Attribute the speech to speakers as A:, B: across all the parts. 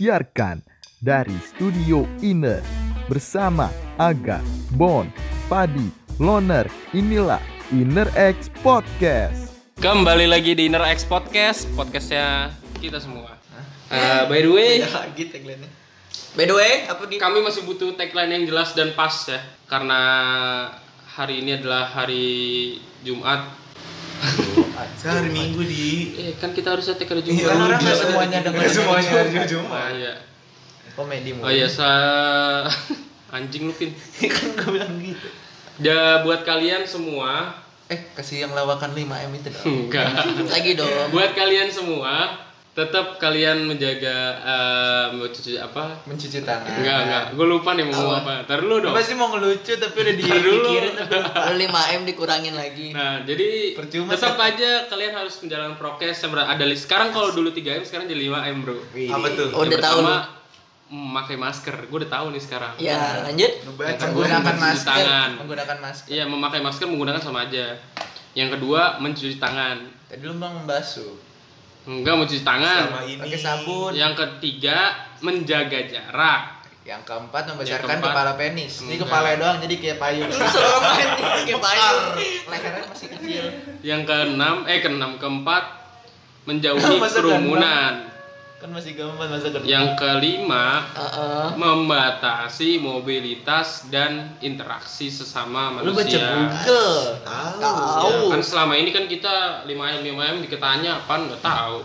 A: disiarkan dari Studio Ine bersama Aga, Bon, Padi, Loner. Inilah Inner X Podcast.
B: Kembali lagi di Inner X Podcast, podcastnya kita semua. Eh, by the way,
C: lagi tagline By the way, apa di
B: kami masih butuh tagline yang jelas dan pas ya, karena hari ini adalah hari Jumat.
C: hari Minggu di
B: Eh, kan kita harusnya tag hari
C: Iya,
B: Jumat.
C: nggak semuanya dengar.
D: semuanya hari Jumat.
B: Ah, iya.
C: komedi
B: Oh iya, sa- anjing lu pin.
C: kan gue bilang gitu.
B: Ya buat kalian semua,
C: Eh, kasih yang lawakan 5M itu dong.
B: enggak.
C: Lagi dong.
B: buat kalian semua, tetap kalian menjaga eh, mencuci apa?
C: Mencuci tangan.
B: Enggak, enggak. Gue lupa nih mau ngomong apa. Ntar lu dong.
C: Pasti mau ngelucu tapi udah dipikirin tapi lupa. 5M dikurangin lagi.
B: Nah, jadi
C: Percuma,
B: tetap aja kalian harus menjalankan prokes yang ber- ada li- sekarang kalau dulu 3M sekarang jadi 5M, Bro.
C: Apa tuh?
E: Oh, udah
B: Yang
E: tahu
B: pertama,
E: lu.
B: memakai masker. Gue udah tahu nih sekarang.
E: Ya, lanjut.
C: Menggunakan
B: Mencuci
C: masker.
B: tangan.
C: Menggunakan masker.
B: Iya, memakai masker menggunakan sama aja. Yang kedua, mencuci tangan.
C: Tadi lu bang basuh.
B: Enggak mencuci tangan.
C: Pakai sabun.
B: Yang ketiga, menjaga jarak.
C: Yang keempat membesarkan
B: keempat. Hmm.
C: kepala penis. Ini
B: Enggak.
C: kepala doang jadi kayak payung.
E: Seorang main pakai payung.
C: Lehernya masih kecil.
B: Yang keenam, eh keenam keempat, menjauhi
C: Masa
B: kerumunan.
C: Kan masih gampang masa kerja.
B: Yang kelima,
E: Heeh.
B: membatasi mobilitas dan interaksi sesama
C: Lu baca
B: manusia.
C: Google.
E: Tahu.
B: Ya, kan selama ini kan kita 5M 5M diketanya apa nggak tahu.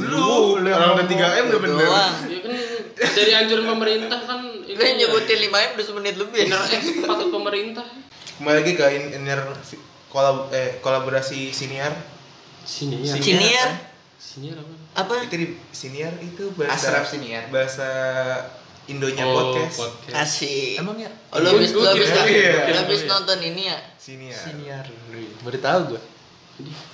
D: Lu, lu orang udah 3M udah bener.
E: gitu Doang.
B: Ya kan dari anjuran pemerintah kan itu
E: Lu nyebutin 5 menit udah semenit lebih.
B: inner X patut pemerintah.
D: Kembali lagi ke in- inner si- kolab eh, kolaborasi senior.
B: Sini
C: Iya.
E: Iya.
B: ya. Sini
E: Senior
B: apa?
E: apa?
D: Itu di senior itu
C: Asrap
D: bahasa
C: senior.
D: bahasa Indonya
B: Oh,
D: podcast.
B: podcast.
E: Asik.
C: Emang ya?
E: Oh, lu habis
B: Gua- gua
E: lu habis,
B: kira-
D: Iya.
E: lu habis nonton ini ya?
D: Senior.
C: Senior. Baru tahu gue.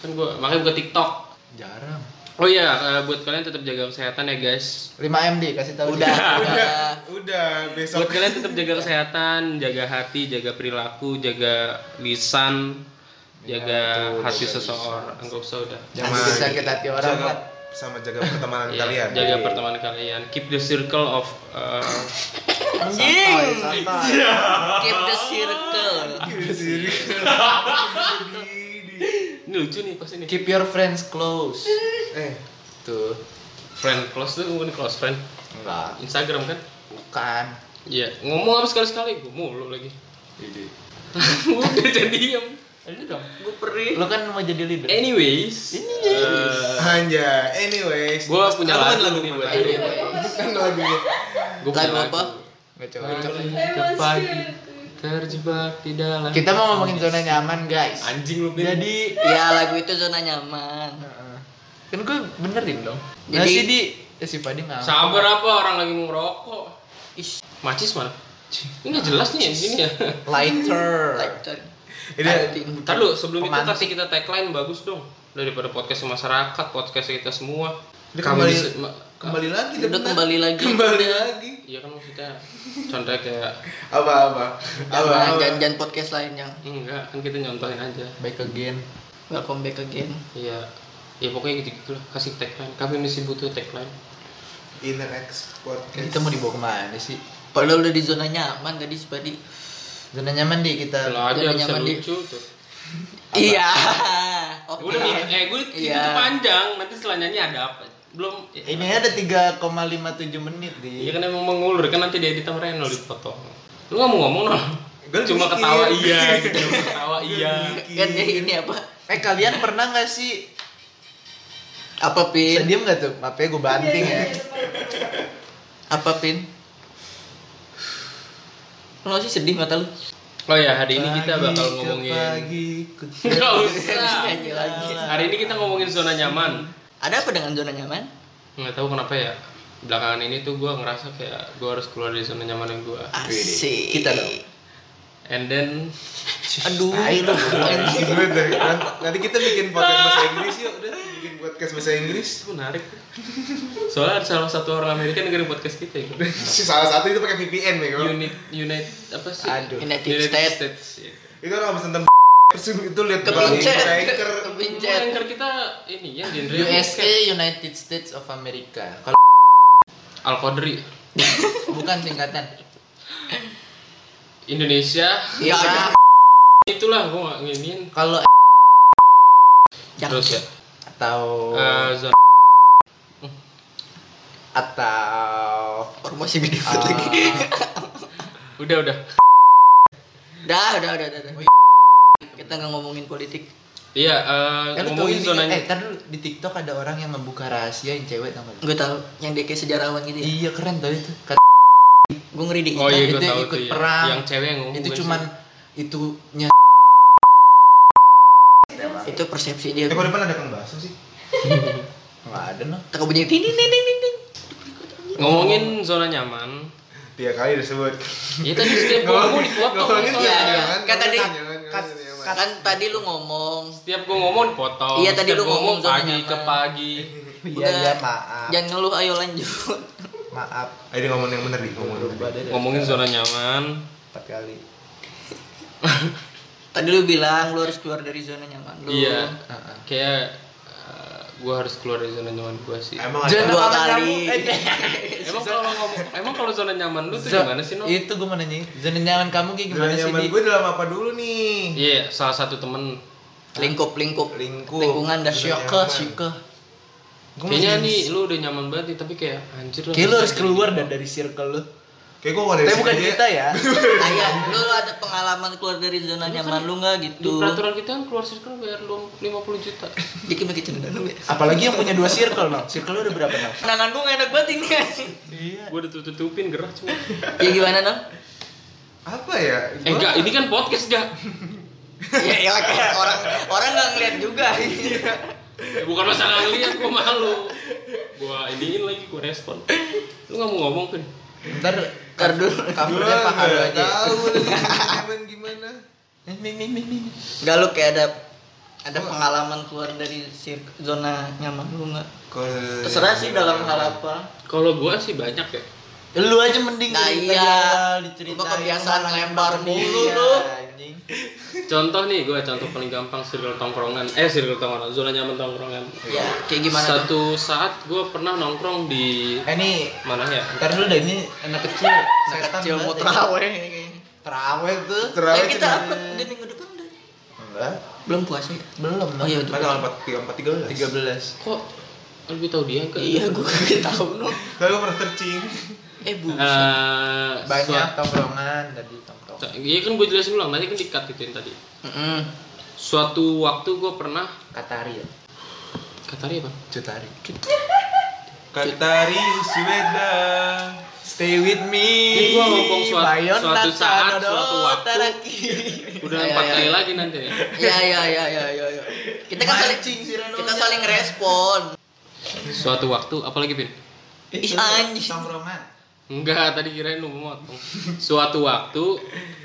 B: Kan gua makanya buka TikTok.
C: Jarang.
B: Oh iya, eh, buat kalian tetap jaga kesehatan ya guys.
C: 5 MD kasih tahu
E: Udah, udah.
D: Udah besok.
B: Buat kalian tetap jaga kesehatan, jaga hati, jaga perilaku, jaga lisan, jaga hati seseorang. Enggak usah udah.
C: Jangan bikin sakit hati orang.
D: jaga,
C: Mat.
D: sama jaga pertemanan
B: Iya,
D: kalian.
B: Jaga pertemanan kalian. Keep the circle of uh,
E: Anjing.
C: santai.
D: Iya.
E: Keep the circle.
B: ini lucu nih pas ini. Keep
C: Keep your friends close.
D: eh,
C: Tuh.
B: friend close tuh ngomongin close friend.
C: Enggak.
B: Instagram kan?
C: Bukan.
B: Iya, ngomong apa sekali-sekali gue mulu lagi. Udah jadi diam.
C: Lu dong.
E: Gue perih.
C: Lu kan mau jadi leader.
B: Anyways, eh,
D: Anja. Anyways,
B: gue punya
D: Apa
B: lagu nih buat ini.
D: kan lagunya?
B: Gue punya
E: Lagu apa?
C: Nggak coba.
B: Tepat terjebak di dalam.
C: Kita mau ngomongin zona nyaman, guys.
B: Anjing lu Bin.
C: Jadi
E: Ya lagu itu zona nyaman.
C: kan gue benerin dong.
E: Jadi-
C: Jadi sih di ya si Padi nggak.
B: Sabar apa orang lagi mau ngerokok.
E: Ish.
B: Macis mana? Ini ya. nggak jelas nih anjingnya.
C: Lighter.
E: Lighter.
D: Ini
B: Ntar lu sebelum itu
C: Pemantik.
B: kasih kita tagline bagus dong daripada podcast masyarakat, podcast kita semua.
D: Ini kembali-
B: bisa- ma-
D: kembali lagi.
E: Udah
D: bener.
E: kembali lagi.
D: Kembali lagi.
B: Iya kan kita contohnya kayak
D: Apa-apa? Apa?
E: Jangan
D: apa?
E: jangan- jangan podcast lain yang
B: enggak kan kita nyontohin aja.
C: Back again.
E: welcome back again.
B: Iya. Ya pokoknya gitu gitu lah kasih tagline. Kami masih butuh tagline.
D: Inner X Podcast.
C: Kita mau dibawa kemana sih?
E: Padahal udah di zona nyaman tadi sebadi.
C: Zona nyaman deh kita.
B: Kalau aja
E: Jangan
B: bisa
E: nyaman, Di.
B: lucu tuh.
E: Iya. Oke.
B: Udah nih, eh gue
E: Oh, Iya.
B: itu panjang. Nanti selanjutnya ada apa? Belum.
C: Ini ada 3,57 menit di.
B: Iya kan emang mengulur kan nanti dia editan Reno dipotong. Lu nggak mau ngomong Nol?
D: Gua
B: Cuma
D: mikir.
B: ketawa iya, gitu. ketawa iya.
E: Kan dia ini apa?
C: Eh kalian pernah nggak sih?
E: Apa
C: Bisa
E: pin?
C: diem nggak tuh? Mape gue banting ya.
E: Apa pin? Lo sih sedih mata lu?
B: Oh ya hari ini kita bakal
C: Pagi ke
B: ngomongin.
C: Pagi ke
B: Gak
E: Sedih
B: usah.
E: aja lagi.
B: Hari ini kita ngomongin zona nyaman.
E: Ada apa dengan zona nyaman?
B: Nggak tahu kenapa ya. Belakangan ini tuh gue ngerasa kayak gue harus keluar dari zona nyaman yang gue.
E: Asik.
C: Kita dong.
B: And then
E: Aduh.
C: Ayo dong.
D: Anjing gue dari- nanti- Nanti kita bikin podcast bahasa Inggris yuk, udah bikin podcast bahasa Inggris.
B: itu menarik. Soalnya ada salah satu orang Amerika yang dengerin podcast kita ya.
D: Salah satu itu pakai VPN ya
B: Unit Unit apa sih?
C: Aduh.
E: United
B: United
E: States.
B: States. iya.
D: Itu orang habis nonton terus itu lihat kepala
E: Kepincet.
D: hiker.
E: Kepincet.
B: Anchor kita ini ya genre
C: USA United States of America. Kalau
B: Alkodri
C: Bukan singkatan.
B: Indonesia
C: Iya.
E: Iya.
B: itulah gue nggak nginin
C: Kalau
E: Jangan.
B: terus ya
E: Oh.
D: atau
B: eh, zona
D: atau
C: Oh,
E: Ormas masih gede
D: Ah.
E: banget lagi.
B: udah udah
E: Dah, udah, udah, udah. udah. Kita nggak ngomongin politik.
B: iya
C: Eh,
B: eh,
C: lu
B: ngomongin
C: ini-
B: zonanya
C: Eh, ntar dulu di TikTok ada orang yang membuka rahasia yang cewek tau gak?
E: Gue tahu yang dia kayak sejarawan gitu ya.
C: Iya keren tau itu.
E: Gue ngeri di.
B: oh iya
C: itu
B: gue
C: yang
B: tahu
C: ikut
B: tuh ya.
C: perang.
B: yang cewek yang ngomong
C: itu
B: bukan
C: cuman
B: sih.
C: itunya
E: Itu persepsi dia.
D: eh kok depan ada kang basu sih
C: nggak ada noh.
E: Tak bunyi ting ting ting ting ting, ting.
B: ngomongin zona nyaman
D: tiga kali disebut
B: Iya tadi setiap gue ngomong dipotong
D: ngomongin
B: soalnya.
D: ya
E: iya. Kan tadi-
D: kan
E: Kan tadi lu ngomong
B: setiap gue ngomong dipotong
E: Iya, tadi
B: Setiap
E: lu
B: gua
E: ngomong zona
B: pagi
E: nyaman.
B: ke pagi
C: Iya
E: Udah.
C: iya maaf.
E: jangan ngeluh ayo lanjut.
C: Maaf.
D: ayo dia ngomong yang bener nih ngomong yang
C: Berubah
D: bener.
C: deh. dari
B: ngomongin
C: sekarang.
B: zona nyaman
C: empat kali.
E: Tadi lu bilang lu harus keluar dari zona nyaman lu.
B: iya
C: Heeh.
B: kayak eh, gue harus keluar dari zona nyaman gue sih
D: emang
E: Jangan
D: ada
E: dua
C: Jangan
E: kali.
C: kamu,
B: emang kalau ngomong emang kalau zona nyaman lu tuh
C: Zo-
B: gimana sih no
C: Itu gue mau nanya itu. Zona nyaman kamu kayak
D: zona
C: gimana sih?
D: nyaman
C: Di?
D: gue dalam apa dulu nih
B: iya salah satu temen
E: Lingkup lingkup.
D: Lingkup.
E: Lingkungan dah.
D: Zona
C: Syukur,
D: nyaman.
C: syukur.
D: Gua
B: kayaknya
D: masih-
B: nih lu udah nyaman banget nih tapi kayak anjir lah
C: Kayak lu harus keluar dah dari circle lu.
D: kayak gue dari
C: Tapi bukan
D: sini aja.
C: kita ya.
E: Ayo, lu ada pengalaman keluar dari zona nyaman lu nggak
B: di
E: gitu?
B: peraturan kita kan keluar circle bayar lu 50 juta
E: Jadi makin cendera lu ya.
C: Apalagi yang punya dua circle noh. Circle lu udah berapa noh?
E: Kenangan gue nggak enak banget ini anjing.
C: Iya.
B: gue udah tutupin gerah cuma
E: Ya gimana dong?
D: apa ya
B: eh enggak ini kan podcast gak
E: Ya ya kayak orang orang nggak ngeliat juga.
B: Ya, bukan masalah ngeliat gue malu gue iniin lagi gue respon lu nggak mau ngomong kan
C: Ntar
E: Ntar dulu.
D: kamu
C: covernya Pak Haro aja. ya.
D: tahu lagi gimana gimana
C: Nih nih nih nih.
E: Enggak lu kayak ada ada pengalaman keluar dari sir- zona nyaman lu nggak?
D: Kalau-
E: Terserah sih dalam hal apa.
B: kalau gue sih banyak ya
C: Lu aja mending
E: Nah,
C: cerita awal,
E: iya. Gua kebiasaan
C: Orang
E: ngelempar
C: yang
E: mulu
C: iya,
E: lu.
C: anjing.
B: contoh nih gue contoh paling gampang circle tongkrongan eh circle tongkrongan zona nyaman tongkrongan
E: Ya kayak gimana? dong?
B: satu saat gue pernah nongkrong di
C: Eh nih,
B: mana ya
C: ntar dulu deh ini anak kecil.
E: Anak
C: setan
E: kecil
C: banget ya.
E: mau terawih kayaknya.
C: Terawih tuh.
E: Eh,
D: Terawih
E: Iya, kita
D: cuma-
E: upload udah minggu depan udah.
D: enggak
E: Belum puasa ya?
C: Belum.
E: Oh iya
D: Kan
E: udah.
D: tanggal empat tiga empat tiga belas.
C: 13.
B: kok lebih tahu dia kan
E: Iya gue kagak tahu no.
D: Kalau gue pernah searching.
E: Eh bu.
B: Eh,
C: Banyak
B: suat-
C: tongkrongan tadi tongkrongan.
B: Iya kan gue jelasin ulang, nanti kan dikat itu yang tadi Suatu waktu gue pernah
C: Katari ya.
B: Katari apa?
C: Cutari.
D: Katari Sueda.
C: Stay with me.
B: Ini gua ngomong suatu-
C: Bayon
B: suatu
C: Natsa
B: saat,
C: Nodo
B: suatu waktu.
C: Taraki.
B: Udah
E: Iya,
B: empat
E: iya,
B: kali
E: iya.
B: lagi nanti ya
E: Ya ya ya ya ya ya. Kita kan saling
C: Mancing si Reno.
E: kita saling respon.
B: Suatu waktu, apalagi Pin?
E: Ih, anjing.
C: Tongkrongan.
B: Enggak, tadi kirain lu mau motong Suatu waktu,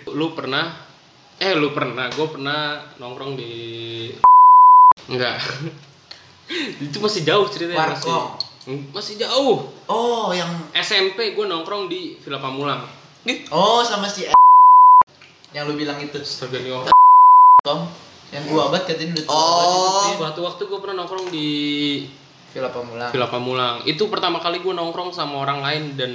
B: lu pernah Eh lu pernah, gue pernah nongkrong di Enggak Itu masih jauh ceritanya masih,
C: Warkop.
B: masih jauh
C: Oh, yang
B: SMP gue nongkrong di Villa Pamulang
C: oh sama si A- yang lu bilang itu
B: Astaga, ini orang.
C: Tom yang gua abad katanya udah tua
E: Oh.
C: banget itu,
B: Suatu waktu gue pernah nongkrong di
C: Tin. Villa Pamulang
B: Villa Pamulang Itu pertama kali gue nongkrong sama orang lain dan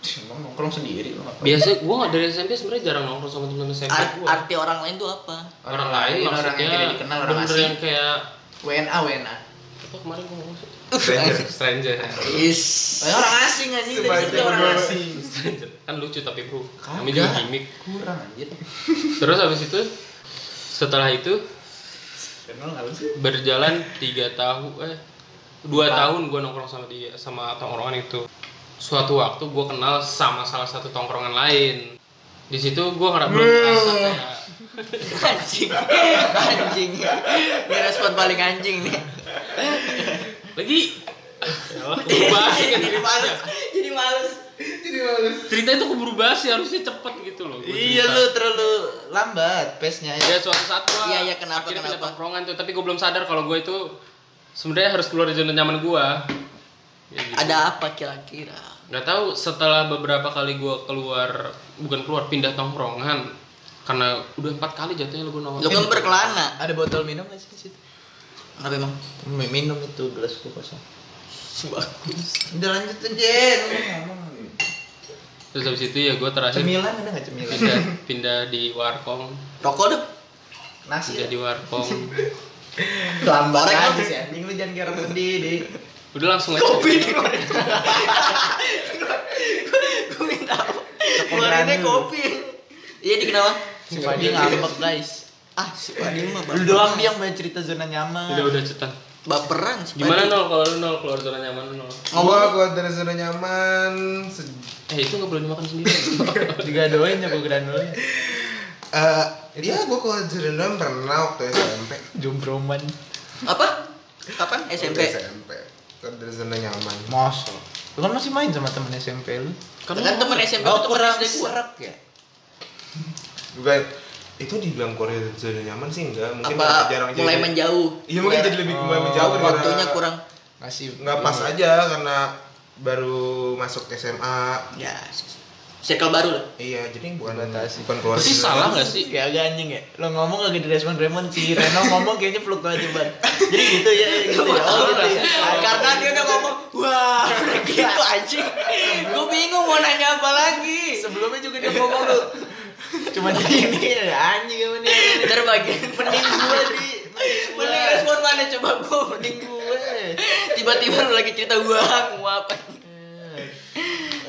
C: emang nongkrong sendiri lu ngapain
B: biasa gue nggak dari SMP sebenarnya jarang nongkrong sama temen SMP
E: Ar-
B: gue.
E: arti orang lain tuh apa?
B: orang lain
C: orang yang
B: maksudnya
C: tidak dikenal orang
B: bener
C: asing
B: yang kayak
C: WNA WNA
B: apa kemarin gue ngomong sih?
D: Stranger.
B: stranger
E: Is.
C: Eh, orang asing anjing dari
D: Sebaiknya
C: situ orang
D: gua-
C: asing
B: stranger kan lucu tapi bro
C: Kagak.
B: namanya juga gimmick
C: kurang anjir
B: terus habis itu setelah itu
C: kenal nggak lu sih
B: berjalan tiga tahun eh dua tahun gue nongkrong sama dia sama tongkrongan itu suatu waktu gue kenal sama salah satu tongkrongan lain di situ gue ngerasa belum ngerasa kayak
E: Anjing. Anjing. Ini respon paling anjing nih.
B: lagi Ya Allah, keburu basi kan
E: Jadi
B: ceritanya.
E: males. Jadi males.
B: cerita itu keburu basi harusnya cepet gitu loh gua
C: iya
B: cerita.
C: lu terlalu lambat pace-nya ya
B: Ya suatu saat gua
E: Iya, iya, kenapa,
B: akhirnya pindah
E: kenapa?
B: tongkrongan tuh, tapi gua belum sadar kalau gua itu sebenarnya harus keluar dari zona nyaman gua. Ya, gitu.
E: Ada apa kira-kira?
B: Nggak tahu setelah beberapa kali gua keluar bukan keluar pindah tongkrongan karena udah empat kali jatuhnya lu gua nongkrong.
E: Lu kan berkelana.
C: ada botol minum nggak sih di situ
E: Kenapa emang?
C: minum itu gelas gua kosong
F: Bagus. Udah lanjut aja.
B: terus habis itu ya gue terakhir
F: Cemilan ada nggak cemilan?
B: pindah pindah di warkong
F: Rokok deh. Nasi.
B: pindah di warkong
F: Lambat
E: Korek
F: aja
E: apa?
F: Nah, sih anjing lu jangan kira sedih di.
B: udah langsung aja
F: Kopi di korek. Gue minta apa? Keluarinnya kopi. Iya di kenapa? Si Fadi ngambek guys. Ah si Fadi mah baperan. Lu doang dia yang banyak cerita zona
B: udah
F: nyaman.
B: udah cetan
F: Baperan si Fadi.
B: gimana nol kalau lu nol keluar zona nyaman lu nol
D: Gua
F: Ngomong
D: keluar dari zona nyaman se-
B: eh itu nggak boleh dimakan sendiri
F: juga doain ya, jago granulnya.
D: Eh, iya gua keluar dari zona nyaman pernah waktu SMP.
F: Jombroman. Apa? Kapan? SMP.
D: Waktu SMP. Keluar dari zona nyaman.
F: Masa? Lu kan masih main sama temen SMP lu.
B: Kan lu-
F: Kan, temen SMP
E: Oh,
F: lu temen
E: kurang
F: SD gua.
E: serap ya?
D: Juga itu dibilang keluar dari zona nyaman sih enggak, mungkin
E: Apa
D: jarang
E: mulai
D: jadi-
E: menjauh?
D: Iya mungkin
F: Mulai-
D: jadi lebih mulai
F: Oh, Iya.
D: menjauh karena
E: Waktunya kurang.
F: Masih
D: Nggak pas aja karena baru masuk SMA.
E: Ya, circle baru lah.
D: Iya, jadi bukan
F: Dibatasi.
D: bukan keluar.
B: sih
D: dari-
B: salah nggak sih
F: Ya agak anjing ya. Lo ngomong agak direspon Raymond si Reno ngomong kayaknya peluk gue aja Ban. Jadi gitu ya gitu ya. Oh gitu ya.
E: Ah, Karena dia udah ngomong, wah, udah gitu anjing. Gue bingung mau nanya apa lagi.
F: Sebelumnya juga dia ngomong lu. Cuman ini ya, anjing apa nih?
E: Ntar bagian
F: Mending gue di Iya.
E: Mending respon mana coba gue
F: mending gue.
E: Tiba-tiba lu lagi cerita gua nguap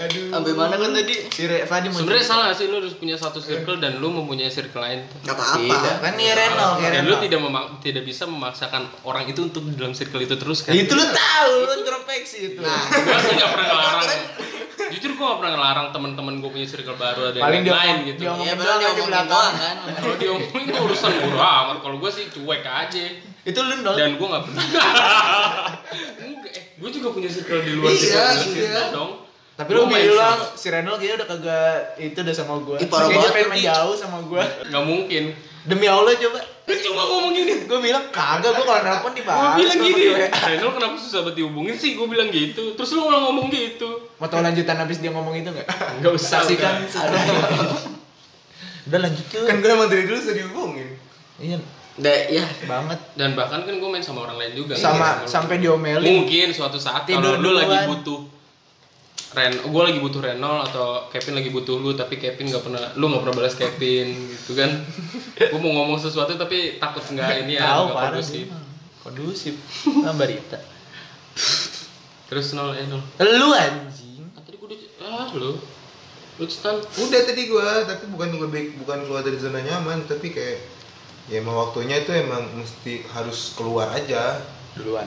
D: Aduh.
E: Sampai mana kan tadi?
F: Si Re Fadi mau
B: sebenarnya salah nggak sih lu harus punya satu circle dan lu mempunyai circle lain
E: Gak
F: Tidak,
E: apa-apa
F: kan nih Reno,
B: Iya.
F: ya
B: dan
F: Reno.
B: lu tidak memak- tidak bisa memaksakan orang itu untuk di dalam circle itu terus kan
F: Itu lu tahu, lu introspeksi itu.
E: Nah,
B: gue sih nggak pernah ngelarang jujur gue gak pernah ngelarang teman-teman gue punya circle baru ada
F: Paling
B: yang lain
F: diomong-
B: gitu
F: diomong-
E: Iya padahal dia
F: Ngomongin
E: ngomongin
F: belakang.
E: doang kan
B: kalau diomongin urusan gue amat kalau gue sih cuek aja
F: Itu lu nol.
B: dan gue gak pernah Enggak, eh, gue juga punya circle di luar
D: Iya,
B: circle
D: iya.
B: circle dong
F: Tapi lu
B: Gua main
F: bilang si Reno kayaknya udah kagak itu udah sama gua.
E: Ih, parah
F: Kayaknya
E: banget
F: pengen
E: lu, Ki.
F: menjauh sama gua.
B: nggak mungkin
F: Demi Allah coba.
B: Lu cuma ngomong gini
F: Gua bilang kagak, gua kalau nelpon
B: gue
F: dibahas.
B: bilang gini Renol kenapa susah banget dihubungin sih gue bilang gitu terus lu malah ngomong gitu
F: Mau tau lanjutan habis dia ngomong itu enggak?
B: Nggak usah,
F: Saksikan setelah. Udah lanjut tuh.
D: Kan gue emang dari dulu sudah dihubungin.
F: Iya,
E: Udah, ya
F: banget.
B: dan bahkan kan gue main sama orang lain juga
F: Sama
B: Iya.
F: sampai diomelin.
B: mungkin suatu saat kalau
F: Tidur
B: lu
F: duluan.
B: lagi butuh Ren, gue lagi butuh Renol atau Kevin lagi butuh lu tapi Kevin nggak pernah lu nggak pernah balas Kevin gitu kan gue mau ngomong sesuatu tapi takut nggak ini ya nggak
F: Tahu parah
B: kondusif
F: sih. Kondusif. Gambar Rita.
B: terus nol eh nol
F: Lu anjing.
B: Ah, tadi gue udah ah lu lu cetan
D: Udah tadi gua, tapi bukan lebih bukan keluar dari zona nyaman, tapi kayak ya emang waktunya itu emang mesti harus keluar aja.
F: Duluan.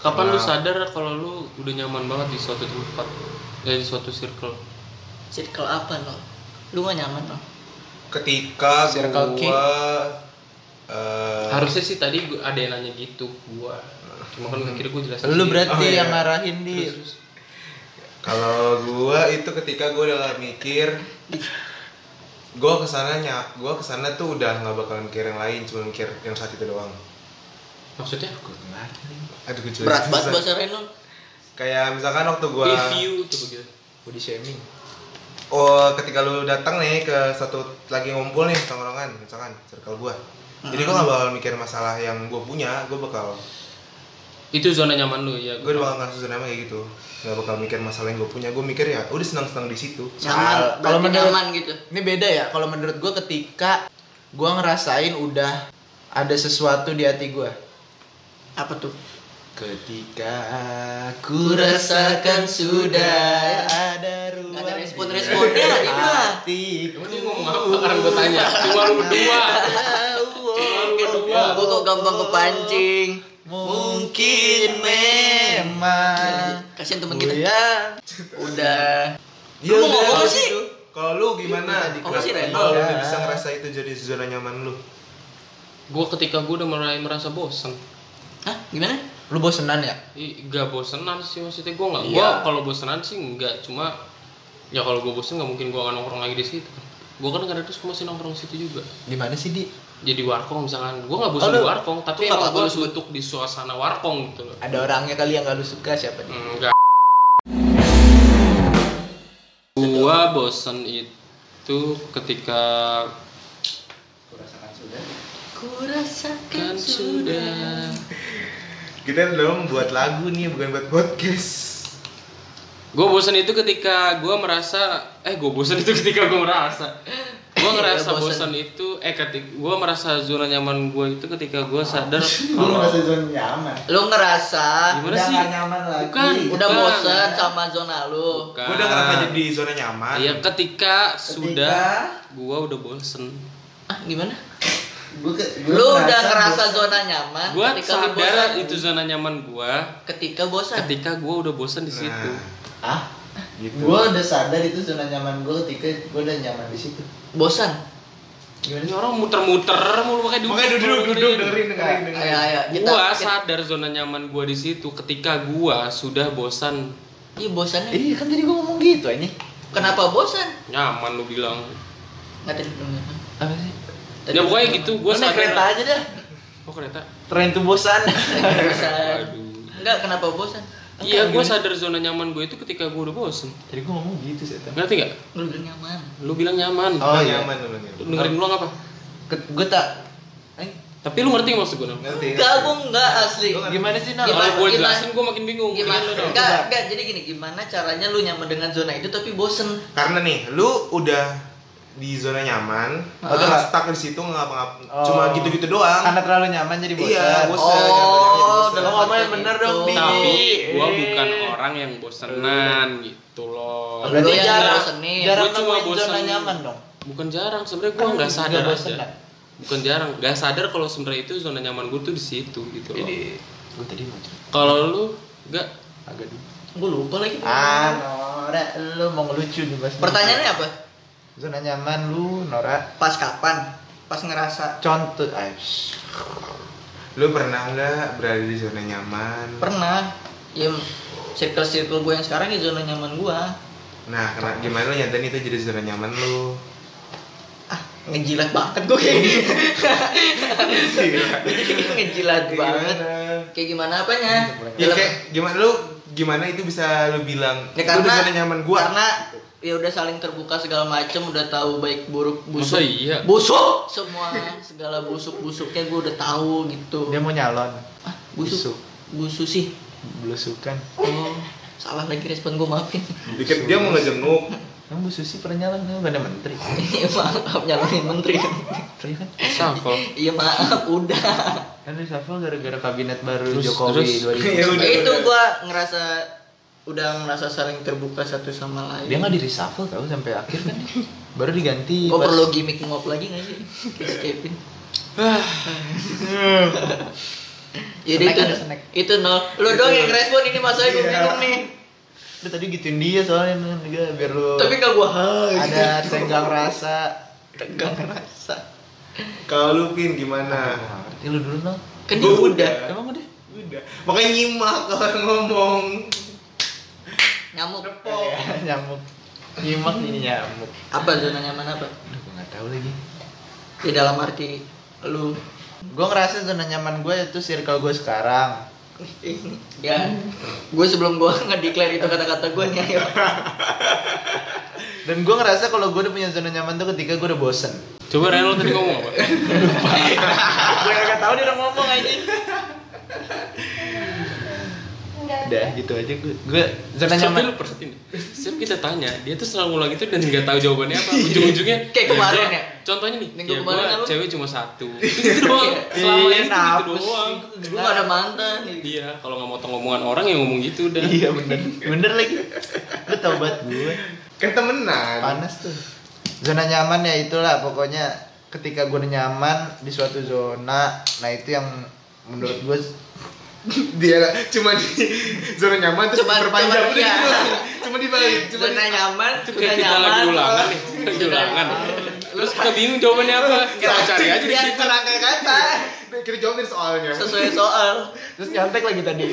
B: kapan lu
D: Kenal.
B: sadar kalau lu udah nyaman banget di suatu tempat eh, di suatu circle
E: circle apa no? Lu gak nyaman no?
D: Ketika
F: Circle K.
D: gua eh,
B: harusnya sih tadi gua- ada yang nanya gitu gua cuma kan akhirnya gue jelasin
F: Hmm. Lu
B: sendiri.
F: berarti
D: Oh, iya.
F: yang ngarahin di
D: kalau gua itu ketika gua udah nggak mikir gua kesananya gua kesana tuh udah nggak bakal mikir yang lain cuma mikir yang saat itu doang
B: maksudnya
D: aduh gue jelasin
E: Berat banget
D: susah.
E: bahasa Reno
D: kayak misalkan waktu gua
B: review coba gitu
F: body shaming.
D: oh ketika lu datang nih ke satu lagi ngumpul nih tongkrongan misalkan circle gua jadi gua
E: Hmm.
D: gak bakal mikir masalah yang gua punya gua bakal
B: itu zona nyaman lu ya
D: gua udah bakal ngerasa zona nyaman kayak gitu gak bakal mikir masalah yang gua punya gua mikir ya udah senang senang di situ
E: Nyaman,
F: Soal- kalau
E: berarti
F: menurut-
E: nyaman gitu
F: Ini beda ya. Kalau menurut gue ketika gue ngerasain udah ada sesuatu di hati gue.
E: Apa tuh?
F: Ketika aku rasakan sudah ada ruang.
E: Gak ada respon-responnya lah dia mah
B: Emang dia ngomong apa kan gue tanya cuma lu berdua cuma lu berdua
F: oh,
E: Gue kok gampang kepancing
F: Mungkin memang.
E: Kasian temen
F: Gua
E: kita
F: yang-
E: Udah
D: Ya
E: Lu
D: udah,
E: mau ngomong
D: habis
E: sih?
D: itu. Kalau lu gimana?
E: Oh, masih Reno.
D: Kalau lu udah
F: Ya.
D: bisa ngerasa itu jadi zona nyaman lu.
B: gue ketika gue udah mulai merasa bosen
E: Hah? Gimana?
F: Lu bosenan ya?
B: Ih, gak bosenan sih maksudnya gue nggak gue
F: Iya.
B: kalau bosenan sih nggak cuma ya kalau gue bosen nggak mungkin gue akan nongkrong lagi di situ gue kan kadang terus masih nongkrong di situ juga
F: Di mana sih di?
B: jadi warkong misalkan gue nggak bosen di warkong tapi
E: Tuh,
B: emang
E: apa
B: gue
E: lu sebut?
B: suntuk di suasana warkong gitu loh
F: Ada orangnya kali yang gak lu suka siapa dia?
B: enggak gue bosen itu ketika
E: Ku
B: kan
E: rasakan
B: sudah
E: sudah
D: kita dong buat lagu nih bukan buat podcast
B: Gue bosen itu ketika gue merasa eh gue bosen itu ketika gue merasa gue ngerasa
E: Iya,
B: bosan
E: bosen.
B: itu eh ketika gue merasa zona nyaman gue itu ketika gue sadar
F: Lu
B: kalau
F: ngerasa zona nyaman.
E: Lu ngerasa
B: gimana
F: Udah
B: sih
F: nggak nyaman lagi.
B: Bukan.
E: udah
B: Bukan.
E: bosen sama zona lu.
B: Bukan.
D: gue udah ngerasa jadi zona nyaman Nah,
B: Iya ketika sudah gue udah bosen
E: Ah, gimana?
F: Gua ke- gua
E: Lu udah ngerasa
F: bosan.
E: zona nyaman
B: gue
E: ketika lu
B: sadar
E: bosan.
B: itu zona nyaman gue
E: ketika bosan.
B: ketika gue udah bosen di
D: Nah,
B: situ
F: Ah,
D: gitu
F: gue udah sadar itu zona nyaman gue ketika gue udah nyaman di situ.
E: Bosan.
F: Gimana?
B: ini orang muter-muter mulu pakai duduk
D: makanya duduk
B: mulu,
D: duduk
B: dengerin.
D: dengerin dengerin
E: Ayo
D: dengerin
E: ayo kita
B: gua
E: kita-
B: sadar zona nyaman gua di situ ketika gua sudah bosan
E: Iya bosannya.
F: Iya kan tadi gue ngomong gitu ini.
E: Kenapa bosan?
B: nyaman lu bilang
E: Nggak tadi belum datang.
F: Apa sih?
B: ya pokoknya gitu gua
E: Lu
B: sadar
E: naik kereta aja dah.
B: oh kereta
F: Tren tuh bosan.
E: bosan.
B: aduh
E: Enggak kenapa bosan?
B: iya gua sadar zona nyaman gua itu ketika gua udah bosan
F: Tadi gue ngomong gitu sih.
B: ngerti gak
E: Lu udah nyaman.
B: lu bilang nyaman
F: Oh,
D: oh
F: iya.
D: nyaman lu dengerin.
B: Lu dengerin ulang apa
F: Gue tak. Eh,
B: tapi lu ngerti nggak maksud gua Nal?
D: ngerti
E: Enggak, gua enggak asli.
F: Gimana sih Nal?
E: Gimana?
B: kalau gua jelasin gua makin bingung
E: Gimana?
B: Dengerin lu dong.
E: Enggak, enggak. Jadi gini, gimana caranya lu nyaman dengan zona itu tapi bosen?
D: karena nih lu udah di zona nyaman
E: Ah.
D: udah nggak stuck di situ nggak ngapa
F: Oh.
D: cuma gitu gitu doang
F: Karena terlalu nyaman jadi bosan.
D: iya bosan
E: Oh,
D: nyaman-nyaman,
E: dalam
D: bosan.
E: ngomong yang bener dong, Di.
B: tapi gua bukan orang yang bosenan gitu loh
E: Berarti
F: Lu
E: yang
F: jarang-
E: bosenin.
F: Jarang
B: Gua cuma
F: nemuin zona
B: bosan.
F: nyaman dong.
B: bukan jarang sebenarnya gua nggak
F: Juga
B: sadar
F: bosan,
B: aja
F: Nal.
B: bukan jarang nggak sadar kalau sebenarnya itu zona nyaman gua tuh di situ gitu loh
F: Ini gue
E: oh,
F: tadi mau cerita
B: kalau lu nggak
F: agak dulu.
E: Gua lupa lagi.
F: Ah, Nora, lu mau ngelucu nih mas.
E: Pertanyaannya apa?
F: Zona nyaman lu, Nora.
E: Pas kapan? Pas ngerasa
F: Contoh, ah, shh.
D: lu pernah nggak berada di zona nyaman
E: pernah ya circle-circle gue yang sekarang ya zona nyaman gue
D: nah kena- gimana lu nyantain itu jadi zona nyaman lu
E: ah ngejilat banget gue kayak gitu ngejilat banget
D: Iya. Kayak gimana?
E: kayak gimana apanya
D: Ya kayak gimana lu gimana itu bisa lu bilang
E: Ya,
D: lu di
E: karena-
D: zona nyaman gua
E: karena ya udah saling terbuka segala macem udah tahu baik buruk busuk
B: Masa iya?
E: busuk semua segala busuk busuknya gue udah tahu gitu
F: dia mau nyalon,
E: ah busuk
F: Busuk.
E: busuk sih
F: belusukan.
E: oh salah lagi respon gue maafin
D: dikit dia mau ngejenguk
F: Emang Bu Susi pernah nyalon, emang pada menteri.
E: Iya, maaf nyalonin menteri
F: Pernah kan?
B: Shuffle
E: iya maaf udah
F: Kan reshuffle gara-gara kabinet baru
B: Terus-
F: Jokowi
B: terus?
F: 2000.
D: ya udah
E: itu
D: udah.
E: gua ngerasa udah ngerasa saling terbuka satu sama lain.
F: Dia nggak di reshuffle tau sampai akhir kan? baru diganti.
E: Gua Oh,
F: pas-
E: perlu gimmick ngop lagi gak sih? Kayak si Kevin. Jadi Ya,
F: Snack
E: itu
F: ada snack. Iya.
E: itu nol. Lu doang yang respon ini masalahnya gue bingung nih.
F: Lu tadi gituin dia soalnya Nel, juga biar lu
E: Tapi gak gua hai.
F: ada tenggang rasa.
E: tegang rasa.
D: kalau lu pin gimana
F: Nggak ngerti lu dulu Nol.
E: Kan
D: Gua
E: dia udah
F: Emang udah?
D: udah makanya nyimak kalau orang ngomong
E: nyamuk. Iya.
F: Ya, nyamuk. Nyimak ini nyamuk.
E: Apa zona nyaman apa?
F: Aduh, gue nggak tahu lagi.
E: Di dalam arti lu
F: Gue ngerasa zona nyaman gue itu circle gue sekarang.
E: ya gue sebelum gue ngedeklar itu kata-kata gue nih ayo
F: Dan gue ngerasa kalau gue udah punya zona nyaman tuh ketika gue udah bosen.
B: Coba Reno tadi ngomong apa?
F: gue gak tau dia udah ngomong aja. Udah gitu aja gue. Gue zona
B: Tapi
F: nyaman.
B: lu perhatiin Setiap kita tanya, dia tuh selalu ngulang itu dan nggak tahu jawabannya apa Ujung-ujungnya
E: Kayak kemarin
B: gua-
E: ya?
B: Contohnya nih,
E: Minggu
B: ya
E: kemarin
B: gua
E: apa?
B: cewek cuma satu Itu doang, selama
F: Iya,
B: ini tuh
F: nafsu.
B: gitu doang
E: gue gak ada mantan
B: Iya, kalau nggak motong omongan orang ya ngomong gitu udah
F: Iya bener. Bener lagi. Lu tau banget gue.
D: kan temenan
F: Panas tuh. Zona nyaman ya itulah pokoknya ketika gue udah nyaman di suatu zona, nah itu yang menurut gue
D: dia cuma di zona nyaman terus
E: Cuma- cuma-
D: diperpanjang udah
E: iya.
D: gitu cuma dibalik cuma
E: zona
D: di-
E: nyaman
B: Itu
E: zona
B: kayak kita
E: nyaman
B: lagi ulangan nih Lagi
E: Zona
B: ulangan
E: nyaman.
B: Terus kita bingung jawabannya apa Kita cari aja di
E: Biar
B: situ
E: serangkai kata
D: kita jawabin soalnya
E: sesuai soal
F: Terus nyontek lagi tadi.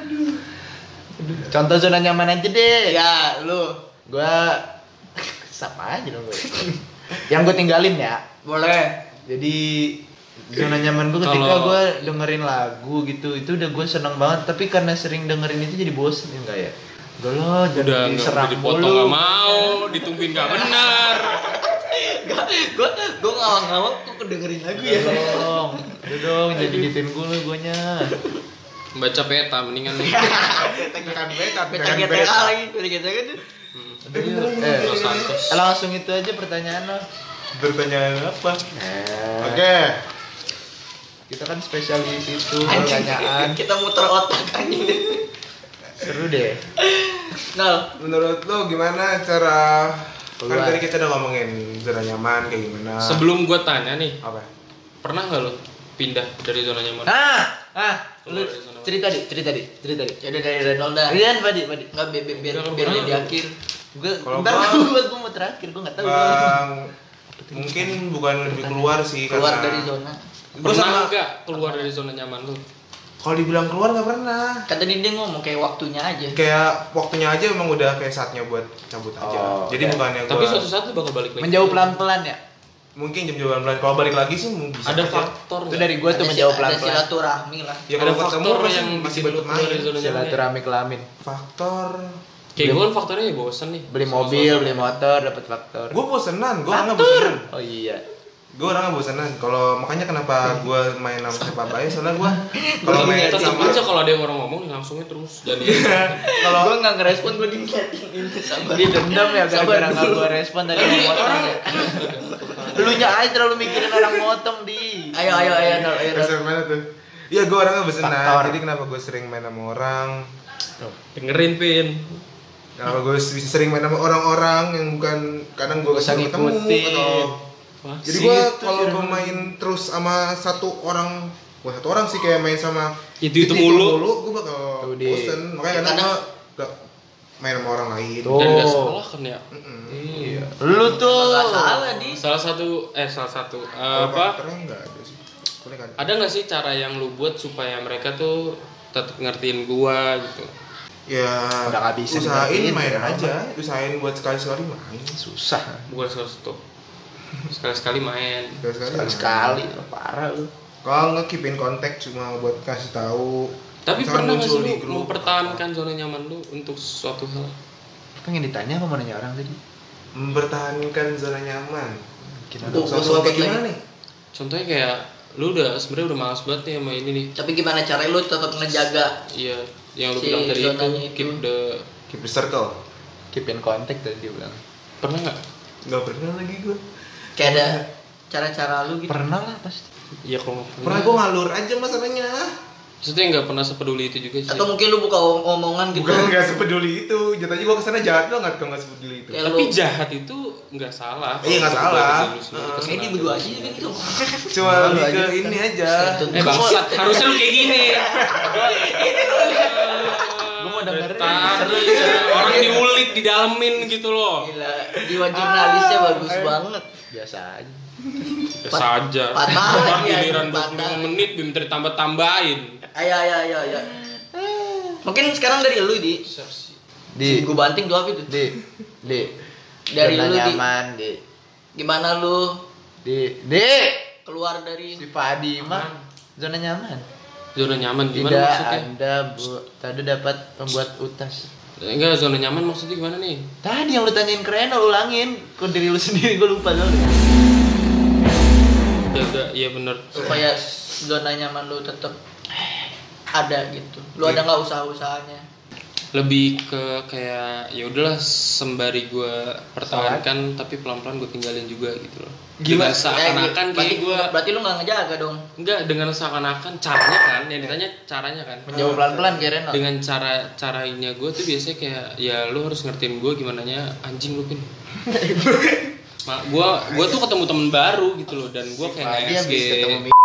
F: Aduh. Contoh zona nyaman aja deh.
E: ya lu
F: Gua sama aja dong gue. Yang gue tinggalin ya.
E: boleh
F: Jadi zona nyaman gue ketika
B: Kalau-
F: gue dengerin lagu gitu itu udah gue seneng banget tapi karena sering dengerin itu jadi bosen ya enggak ya udah lo
B: Udah
F: jangan
B: nggak
F: diserang
B: udah dipotong
F: mulu
B: nggak mau, ditungguin nggak benar
E: Gak, gue gue ngawang-ngawang tuh kedengerin lagu
F: Iya.
E: ya.
F: dong udah dong jadi gituin gue lu guanya
B: Baca peta mendingan nih.
D: Tekan beta,
E: Pecah GTA lagi, pecah GTA kan.
F: eh
B: Los Santos.
F: eh, langsung itu aja pertanyaan lo
D: Bertanya apa? Oke.
F: kita kan spesialis itu
E: Anjing.
F: pertanyaan
E: Kita muter otak anjing.
F: seru deh
E: Nol.
D: Menurut lo gimana cara
F: Keluar.
D: kan tadi kita udah ngomongin zona nyaman kayak gimana?
B: Sebelum gua tanya nih,
D: apa?
B: pernah nggak lo pindah dari zona nyaman?
G: Ah, ah,
B: Keluar
G: lu
B: dari zona
G: cerita di, cerita di, cerita di.
E: Jadi dari Renol dah.
G: Rian, Padi, Padi.
E: Enggak biar biar biar,
B: Udah,
E: biar
B: udah.
E: dia di akhir.
G: Gue,
D: Kalau
G: ntar
D: gua-
G: gue, gue mau terakhir, gue nggak tahu.
D: Bang, mungkin bukan lebih keluar sih
E: Keluar
D: karena
E: dari zona.
D: Gua sama-
B: Pernah nggak keluar dari zona nyaman lo?
D: Kalau dibilang keluar nggak pernah.
E: Kan tadi dia ngomong kayak waktunya aja.
D: Kayak waktunya aja emang udah kayak saatnya buat cabut aja. Jadi bukannya
B: Tapi
D: gua-
B: suatu saat lo bakal balik lagi.
G: Menjauh pelan-pelan ya.
D: mungkin jam jaman bulan kalau balik lagi sih mungkin bisa
B: Ada
D: aja.
B: faktor
F: itu
B: nggak?
F: dari
E: Ada
F: gue tuh
E: sil-
F: menjawab
E: Ada
F: pelan-pelan
E: silaturahmi lah.
D: Ya
B: ada
D: kalau ketemu
B: faktor
D: masih-
B: yang
D: masih
B: bikin lo
D: belum
B: keluar dari zona nyaman. ya?
F: silaturahmi kelamin
D: Faktor
B: Kayak gue kan faktornya ya bosen nih.
F: beli
B: sama
F: mobil
B: suasana.
F: beli motor dapat faktor
D: gue bosenan, gue orangnya bosenan
F: oh iya
D: gue orangnya bosenan kalau makanya kenapa gue main sama siapa baik soalnya gue kalau main
B: Tetep
D: sama
B: aja kalau ada yang orang ngomong langsungnya terus dan
D: kalau
E: Gue nggak ngerespon gue dingin. Sabar.
F: dia dendam ya gara-gara
E: Sabar Iya.
F: nggak
E: dulu.
F: gue respon tadi mau motong ya lu nya aja terlalu mikirin orang motong di
E: Ayo ayo ayo Nol ayo Nol.
D: SM mana tuh Iya gue orangnya bosenan,
F: Faktor.
D: jadi kenapa gue sering main sama orang
B: dengerin pin.
D: Kenapa Ya, gue bisa sering main sama orang-orang yang bukan kadang gue
F: Gak usah
D: ketemu
F: ngikutin.
D: atau
B: Wah,
D: Jadi
B: sih,
D: gue
B: itu
D: kalau
B: sih.
D: gue main terus sama satu orang Bukan satu orang sih, kayak main sama
B: Itu-itu mulu.
D: Gue bakal
F: Tuh, Dik.
D: bosen, makanya kadang gue gak main sama orang lain
F: Tuh.
B: dan gak
F: Oh.
B: sekolah kan ya.
D: Mm-mm.
F: iya lu tuh
E: Nggak salah di.
B: Salah satu eh salah satu eh,
D: Kalau
B: apa?
D: faktornya nggak ada sih Boleh kan? nggak ada?
B: Ada nggak sih cara yang lu buat supaya mereka tuh tetap ngertiin gua gitu?
D: Ya,
F: Udah nggak bisa
D: usahain
F: dimatiin,
D: main
F: udah
D: aja, usahain buat sekali-sekali main
F: susah
B: Bukan selalu stop. Sekali-sekali main.
D: Sekali-sekali
F: sekali
D: main.
F: sekali parah lu
D: Kalau nggak keep in contact cuma buat kasih tahu.
B: Tapi
D: Misalkan
B: pernah nggak
D: muncul di
B: sih
D: grup.
B: lu mempertahankan zona nyaman lu untuk suatu hal?
F: pengen ditanya apa mau nanya orang tadi
D: Mempertahankan zona nyaman.
F: Mungkin ada
E: Tuh, gua
D: Suatu hal kayak
E: sempet
D: gimana
E: Oh, lagi.
D: nih?
B: Contohnya kayak lu udah sebenarnya udah malas banget nih sama ini nih.
E: Tapi gimana cara lu tetap ngejaga
B: Iya, yang lu
E: Si
B: bilang tadi itu,
E: zonanya itu.
B: keep the
D: Keep the circle.
F: keep in contact tadi dia bilang
B: pernah nggak?
D: Gak pernah lagi gue.
E: Hmm. kayak ada cara-cara lu gitu.
F: pernah lah pasti
B: Iya kalau nggak
D: Pernah gue ngalur aja masalahnya.
B: Maksudnya nggak pernah sepeduli itu juga sih.
E: Atau mungkin lu buka om- omongan gitu.
D: Bukan nggak sepeduli itu. Jatuhnya gue kesana jahat banget kalau nggak sepeduli itu.
E: Kayak
B: Tapi
E: lu-
B: jahat itu nggak salah.
D: Iya, nggak
B: Kalau
D: salah.
B: lu sendiri
D: Heeh.
B: kesana
E: Ini
B: aja.
E: berdua aja gitu.
D: Cuma lebih ke ini aja.
B: Eh bangsat, harusnya lu kayak gini. Gue
F: mau dengerin.
B: Orang diulik, didalemin gitu loh.
E: Gila, jiwa jurnalisnya
F: Ah,
E: bagus
F: eh.
E: banget.
F: biasa aja
B: Biasa aja.
E: patah
B: Ya Orang
E: lagi,
B: giliran
E: patah.
B: 25 menit, bim ditambah-tambahin.
E: Ayo ayo ayo ayo. Mungkin sekarang dari lu di.
F: di
E: Gue banting tuh apa itu?
F: di di
E: Dari
F: Zona
E: lu, Di.
F: nyaman di
E: Gimana lu
F: di di
E: Eh. keluar dari
F: si Fadi mah zona nyaman
B: Zona nyaman gimana
F: tidak
B: maksudnya?
F: anda bu tadi dapat pembuat utas
B: Enggak, zona nyaman maksudnya gimana nih?
F: Tadi yang lu tanyain keren, lu ulangin ke diri lu sendiri, gue lupa soalnya.
B: Jaga, iya bener.
E: supaya zona nyaman lu tetap ada gitu. Lu
F: Iya.
E: ada nggak usaha-usahanya?
B: Lebih ke kayak ya udahlah sembari gue pertahankan tapi pelan-pelan gue tinggalin juga gitu loh. Gila, seakan-akan kayak
E: Eh,
F: Eh,
E: berarti,
B: gue
E: berarti lu nggak ngejaga dong.
B: Enggak dengan seakan-akan caranya kan
F: Iya.
B: yang ditanya caranya kan
E: Ah,
F: Menjauh pelan-pelan
E: iya.
F: kayak Reno.
B: dengan cara caranya gue tuh biasanya kayak ya lu harus ngertiin gue gimana nya anjing lu pin Ma, gue gue tuh ketemu temen baru gitu loh dan gue kayak nggak
F: Dia
B: SG
F: habis ketemu Mi-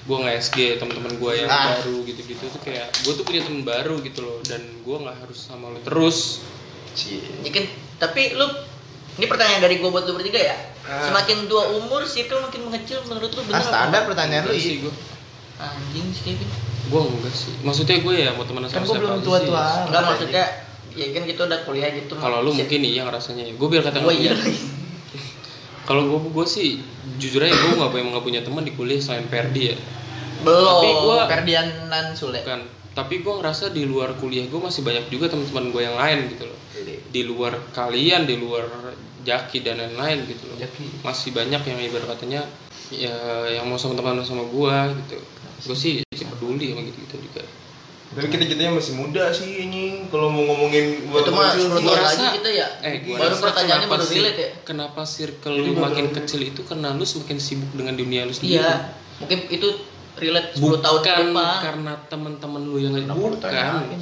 B: gue nggak SG teman-teman gue yang
F: Ah.
B: baru gitu-gitu tuh kayak gue tuh punya temen baru gitu loh dan gue nggak harus sama lu terus
F: Cie.
E: Jadi kan- tapi lu ini pertanyaan dari gua buat lu bertiga ya.
D: Ah.
E: Semakin tua umur, circle makin mengecil menurut lu
F: Ah,
E: bener
F: standar
E: apa?
F: pertanyaan lu iya.
B: Enggak sih
F: itu.
B: gue
E: Anjing sih Kevin.
B: gue enggak sih maksudnya gue ya mau temenan sama
F: Kan gue
B: siapa
F: belum
B: aja
F: tua-tua.
B: sih.
E: Enggak maksudnya ya kan kita udah kuliah gitu.
B: kalau lu mungkin iya rasanya gue biar kata
E: Gue iya.
B: Kalau gue gue sih jujur aja gue nggak punya nggak punya teman di kuliah selain Perdi ya.
E: Belum.
B: Tapi gua-
F: Ferdianan Sule.
B: Bukan kan. tapi gue ngerasa di luar kuliah gue masih banyak juga teman-teman gue yang lain gitu loh
F: Iya.
B: di luar kalian di luar jaki dan lain-lain gitu loh masih banyak yang ibarat katanya ya yang mau sama teman sama gue gitu gue sih sih peduli sama gitu gitu juga
D: Tapi kita kitanya masih muda sih anjing. Kalau mau ngomongin buat
E: Itu mah
D: kecil,
B: Gua
E: sepuluh tahun
D: gua-
E: lagi
B: rasa-
E: kita ya.
B: eh gue
E: Baru
B: rasa
E: pertanyaannya
B: kenapa
E: baru
B: sih
E: relate ya.
B: kenapa circle lu makin kecil itu karena lu semakin sibuk dengan dunia lu sendiri
E: Iya. Mungkin itu relate 10
B: bukan
E: tahun ke depan. Iya.
B: karena teman-teman lu yang bukan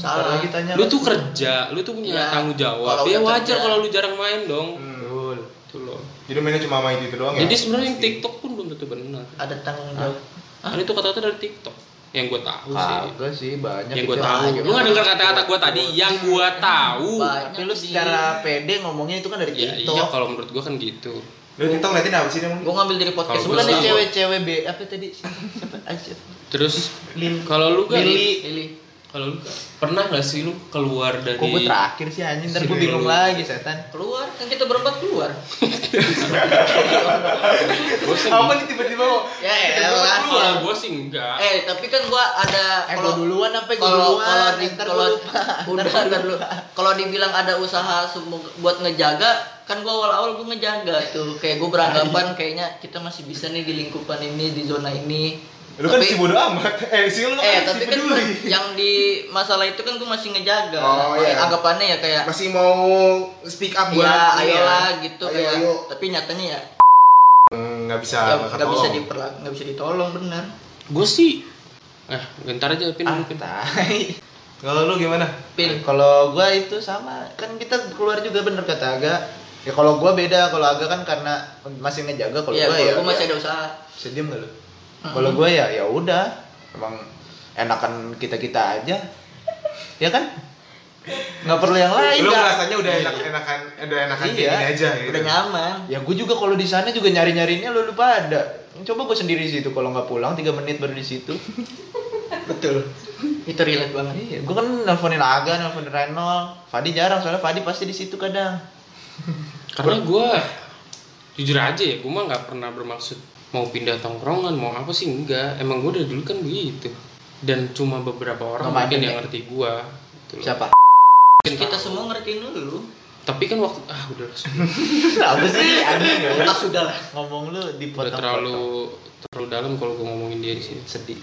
E: Salah.
F: Lagi tanya
B: lu tuh kerja lu tuh punya
E: Ya,
B: tanggung
E: kalau
B: jawab ya
E: udah
B: wajar
E: kerja.
B: kalau lu jarang main dong
D: Betul.
B: Tuh loh
D: Jadi mainnya cuma main gitu doang ya.
B: jadi sebenarnya yang TikTok pun belum tentu benar
E: Ada tanggung jawab.
B: kan itu kata-kata dari TikTok yang gue tahu sih
F: Kagak sih Ah, banyak
B: yang gue
F: itu.
B: Ya, tahu lu nggak dengar kata-kata gue tadi yang gue tahu
E: Banyak
F: Tapi lu
E: sih.
F: secara pede ngomongnya itu kan dari
B: ya
F: TikTok.
B: iya kalau menurut gue kan gitu
D: Lu TikTok ngeliatin apa sih emang?
E: Gua ngambil dari podcast
B: Kalau gua
E: bulan
F: Bukan
E: nih
F: nih
B: sih-
E: cewek.
F: cewek-cewek B apa tadi? Siapa? Aja.
B: terus kalau lu kan
E: Lili.
B: kalau lu Gal, pernah nggak sih lu keluar dari
F: Kok gue terakhir sih anjing, Ah, ntar gue bingung lagi setan.
E: Keluar, kan kita berempat keluar.
F: Apa nih tiba-tiba kok?
E: Ya elah.
B: kalau gue sih enggak
E: Eh, tapi kan gua ada
F: Eh gue duluan apa gue
E: kalau kalau
F: duluan?
E: di-
F: Ntar
E: kalau
F: gua lupa.
E: udah ntar dulu. Kalau dibilang ada usaha semu- buat ngejaga kan gua awal-awal gua ngejaga tuh kayak gua beranggapan kayaknya kita masih bisa nih di lingkupan ini di zona ini
D: Lu kan
E: Tapi-
D: si bodo amat. Eh, si lu kan
E: eh
D: si
E: tapi kan
D: peduli.
E: gua- yang di masalah itu kan gue masih ngejaga
D: Oh,
E: Kayak
D: iya.
E: anggapannya ya kayak
D: masih mau speak up buat
E: ya
D: ini ya?
E: ayolah gitu
D: Ayo,
E: kayak
D: ayo.
E: tapi nyatanya ya
D: Hmm, nggak bisa
E: nggak
D: nggak
E: nggak bisa
D: tolong.
E: diperla nggak bisa ditolong bener
B: gue sih eh bentar aja
F: Ah,
B: pin dulu pin
F: Tai.
D: kalau lu gimana
E: pil
F: Kalau gue itu sama, kan kita keluar juga bener kata Aga. Ya kalau gue beda, kalau Aga kan karena masih ngejaga kalau
E: Iya,
F: gue
E: kalau
F: ya.
E: gue masih
F: ya.
E: ada usaha.
F: Bisa diem gak lu? Kalau gue ya ya udah, emang enakan kita kita aja, ya kan? Nggak perlu yang lain.
D: lu
F: Kak.
D: rasanya udah enak enakan udah enakan kayak
F: Iya.
D: gini aja gitu
E: Udah nyaman.
F: Ya gue juga kalau di sana juga nyari nyarinya lu lupa ada. Coba gue sendiri di situ kalau nggak pulang tiga menit baru di situ.
E: Betul. Itu relate banget.
F: iya, gue kan nelfonin Aga, nelfonin Renol. Fadi jarang soalnya Fadi pasti di situ kadang.
B: karena gue jujur aja ya gue mah nggak pernah bermaksud mau pindah tongkrongan mau apa sih enggak emang gue dari dulu kan begitu dan cuma beberapa orang
F: Nggak
B: mungkin
F: ada,
B: yang
F: ya?
B: ngerti gue gitu loh.
F: Siapa?
B: Mungkin
E: Kita
B: tahu.
E: semua ngertiin dulu.
B: tapi kan waktu ah udah lah, sudah.
F: Kenapa sih? Anjing ya.
E: Ah, sudah lah.
F: Ngomong lu dipotong.
B: udah terlalu terlalu dalam kalau gue ngomongin dia di sini
F: sedih.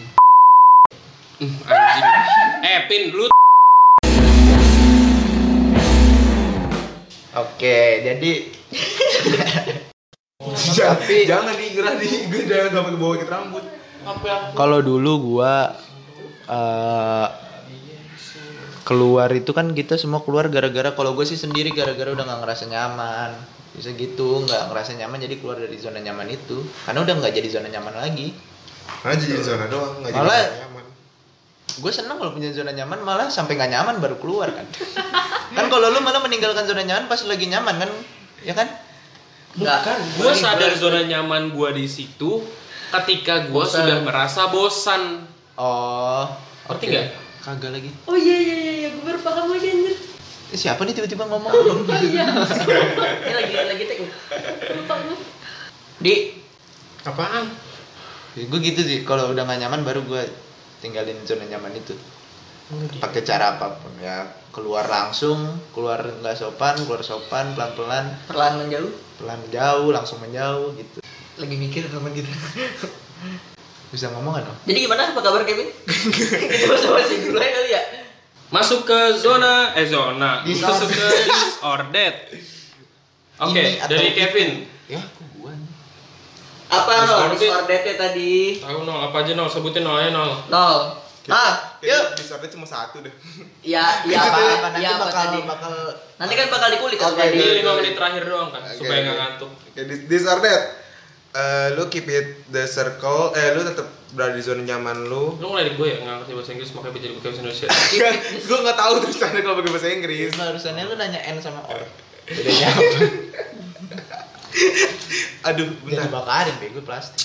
B: Hmm, anjing eh pin lu
F: Oke, jadi
D: jangan jangan digerah di gue jangan gak pakai bawa ke rambut
F: kalau dulu gua eh, keluar itu kan kita semua keluar gara-gara kalau gue sih sendiri gara-gara udah nggak ngerasa nyaman bisa gitu nggak ngerasa nyaman jadi keluar dari zona nyaman itu karena udah nggak jadi zona nyaman lagi
D: karena jadi zona doang nggak jadi
F: Malah-
D: zona nyaman
F: gue seneng kalau punya zona nyaman malah sampai nggak nyaman baru keluar kan kan kalau lu malah meninggalkan zona nyaman pas lagi nyaman kan ya kan
E: Enggak.
B: gue sadar zona nyaman gue di situ ketika gue
E: Bosan.
B: sudah merasa bosan
F: oh
B: Ngerti
F: oke.
B: nggak?
F: kagak lagi
H: Oh iya iya iya, iya. gue baru paham lagi anjir.
F: Eh, siapa nih tiba-tiba ngomong
H: Oh iya.
E: Ini lagi lagi tek.
H: Lupa gue.
E: Di
B: apaan
F: gue gitu sih kalau udah gak nyaman baru gue tinggalin zona nyaman itu pakai cara apapun ya keluar langsung keluar nggak sopan keluar sopan pelan pelan
E: perlahan menjauh.
F: pelan jauh langsung menjauh gitu
E: Lagi mikir teman kita.
F: bisa ngomong kan Om?
E: Jadi gimana? Apa kabar Kevin? Kita basa-basi dulu aja kali ya.
B: Masuk ke zona eh zona. Masuk ke disordered. Oke,
F: Ini atau
B: dari
F: itu.
B: Kevin.
F: ya kok gue
E: Apa
B: Disorder.
E: nol? Disordetnya tadi.
B: Tahu nol apa aja nol sebutin nol aja nol.
E: Nol. Ah,
D: Kayaknya
E: yuk.
D: disorder cuma satu deh
E: Ya, ya apa?
F: apa, apa
E: Ya
F: nanti
E: apa
F: bakal
E: tadi?
F: bakal
E: Nanti kan bakal dikulik kan
F: Oke,
E: tadi.
B: Ini 5 menit terakhir doang kan
D: Oke,
B: supaya nggak
D: oke.
B: ngantuk.
D: Oke, dis- disorder Eh, lu keep it the circle eh lu tetap berada di zona nyaman lu
B: Lu mulai dari gue ya nggak ngerti bahasa Inggris makanya jadi bukan bahasa Indonesia.
D: gue nggak tahu tulisannya kalau pakai bahasa Inggris
E: Nah.
F: barusannya lu nanya n sama or bedanya apa
D: aduh bentar
F: bisa dibakarin bego plastik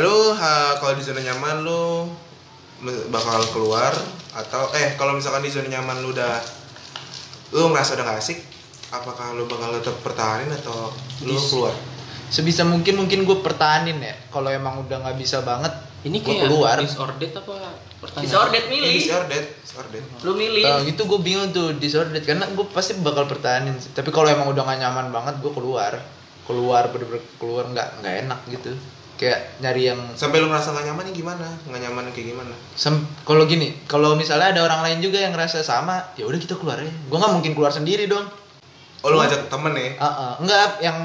D: lu ha, kalau di zona nyaman lu me- bakal keluar atau eh kalau misalkan di zona nyaman lu udah lu ngerasa udah gak asik apakah lu bakal tetap pertahanin atau lu
F: Dis-
D: keluar
F: sebisa mungkin mungkin gue pertahanin ya kalau emang udah nggak bisa banget
B: Ini
F: Gua
B: kayak
F: keluar.
B: disordered apa pertanyaan?
E: Disordered
D: Ini
E: milih.
D: disordered, disordered.
E: Lu milih.
F: Kalau gitu gue bingung tuh disordered karena gue pasti bakal pertahanin sih. Tapi kalau emang udah gak nyaman banget gue keluar, keluar bener-bener keluar nggak nggak enak gitu. Kayak nyari yang
D: Sampai lu ngerasa gak nyaman ini gimana? Gak nyaman kayak gimana?
F: sem kalau gini, kalau misalnya ada orang lain juga yang ngerasa sama, ya udah kita keluar aja. Gue nggak mungkin keluar sendiri dong.
D: Oh lu ngajak temen ya?
F: Ah, ah. enggak yang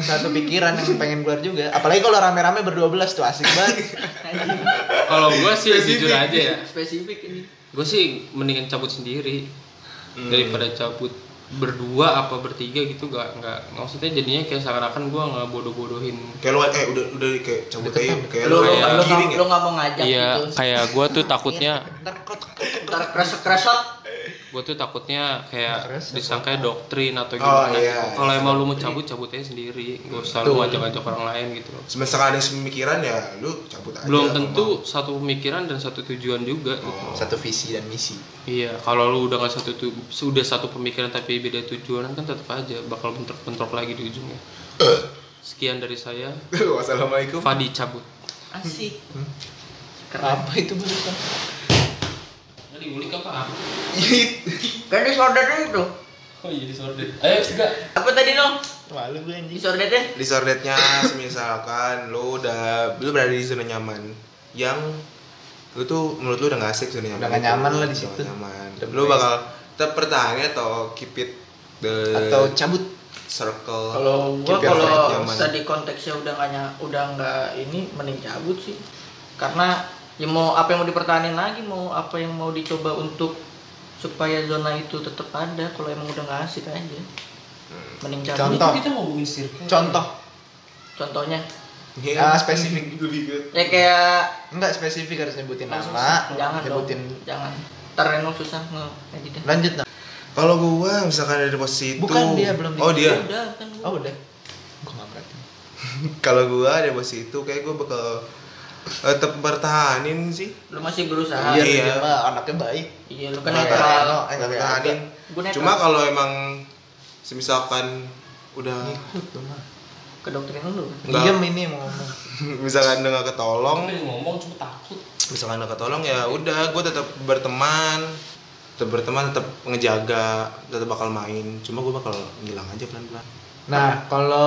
F: satu pikiran yang pengen keluar juga. Apalagi kalau rame-rame berdua belas tuh asik banget.
B: Kalau gue sih jujur aja
E: Iya.
B: ya.
E: Spesifik ini.
B: Gue sih mendingan cabut sendiri
D: Hmm.
B: daripada cabut berdua apa bertiga gitu gak nggak maksudnya jadinya kayak seakan-akan gue nggak bodoh-bodohin
D: Kayak lu eh udah udah kayak cabut aja kayak
E: Lu
D: lu
E: lu
B: kayak-
E: lu
D: giring
E: nggak-
D: ya.
E: lu nggak mau ngajak
B: iya
E: gitu. Iya.
B: kayak gue tuh takutnya
F: Ntar kok
E: Ntar kresek-kresek.
B: gue tuh takutnya kayak
F: Terus,
B: disangka doktrin atau
D: Oh,
B: gimana
D: iya.
B: kalau emang lu mau cabut cabut aja sendiri gak usah lu ajak-ajak orang lain gitu loh
D: Semisal ada yang pemikiran ya lu cabut aja.
B: belum tentu satu pemikiran dan satu tujuan juga gitu.
F: satu visi dan misi.
B: iya kalau lu udah nggak satu tu sudah satu pemikiran tapi beda tujuan kan tetap aja bakal bentrok-bentrok lagi di ujungnya sekian dari saya
D: Wassalamualaikum.
B: Fadi cabut
E: Asik.
F: Apa itu barusan?
B: Tadi ulik apa?
D: Iya,
E: Kan disorder itu.
B: Oh iya disorder. Ayo enggak.
E: Apa tadi dong?
F: Malu gue anjing.
E: Disordednya?
D: Disorderednya semisalkan lu udah lu berada di zona nyaman yang lu tuh menurut lu udah gak asik zona nyaman.
F: Udah gak
D: itu.
F: nyaman lah di
D: Udah gak
F: situ.
D: Nyaman.
F: Udah
D: Lu bakal tetap pertahannya atau keep it the
F: Atau cabut
D: circle.
E: Kalau gua
D: keep your
E: kalau
D: friend nyaman.
E: tadi konteksnya udah nggak nya- udah nggak ini mending cabut sih. Karena ya mau apa yang mau dipertahankan lagi, mau apa yang mau dicoba untuk supaya zona itu tetap ada kalau emang udah nggak asik aja. Mending cabut.
F: Contoh.
B: ngomongin circle.
F: contoh
E: Contohnya
D: Iya.
F: Ah, spesifik
D: lebih good.
E: ya kayak
F: enggak spesifik harus nyebutin
E: Langsung
F: nama
E: jangan dong,
F: nyebutin
E: jangan. Ntar Reno susah ngedit.
F: lanjut nah.
D: Kalau gua misalkan ada di posisi itu
F: Bukan, dia belum
D: Oh
F: di-
D: dia.
E: Udah kan gua.
F: oh udah gua nggak perhatiin
D: Kalau gua ada di posisi itu kayak gua bakal eh, tetap bertahanin sih.
E: Lu masih berusaha.
F: iya
E: Iya,
D: iya.
F: dia mah anaknya baik
E: lu kan
D: Nggak
E: netral.
D: tahan-
F: eh,
D: nggak
F: nggak
D: tahanin.
E: Gua netral.
D: Cuma kalau emang semisalkan udah
F: ikut tuh mah
E: ke kan? dokter dulu.
D: Nggak.
F: diam ini mau ngomong
D: misalkan udah nggak ketolong,
B: ngomong cuma takut.
D: misalkan nggak ketolong ya udah gua tetap berteman, tetap berteman, tetap ngejaga, tetap bakal main. Cuma gua bakal ngilang aja pelan-pelan.
E: Ah.
F: nah kalau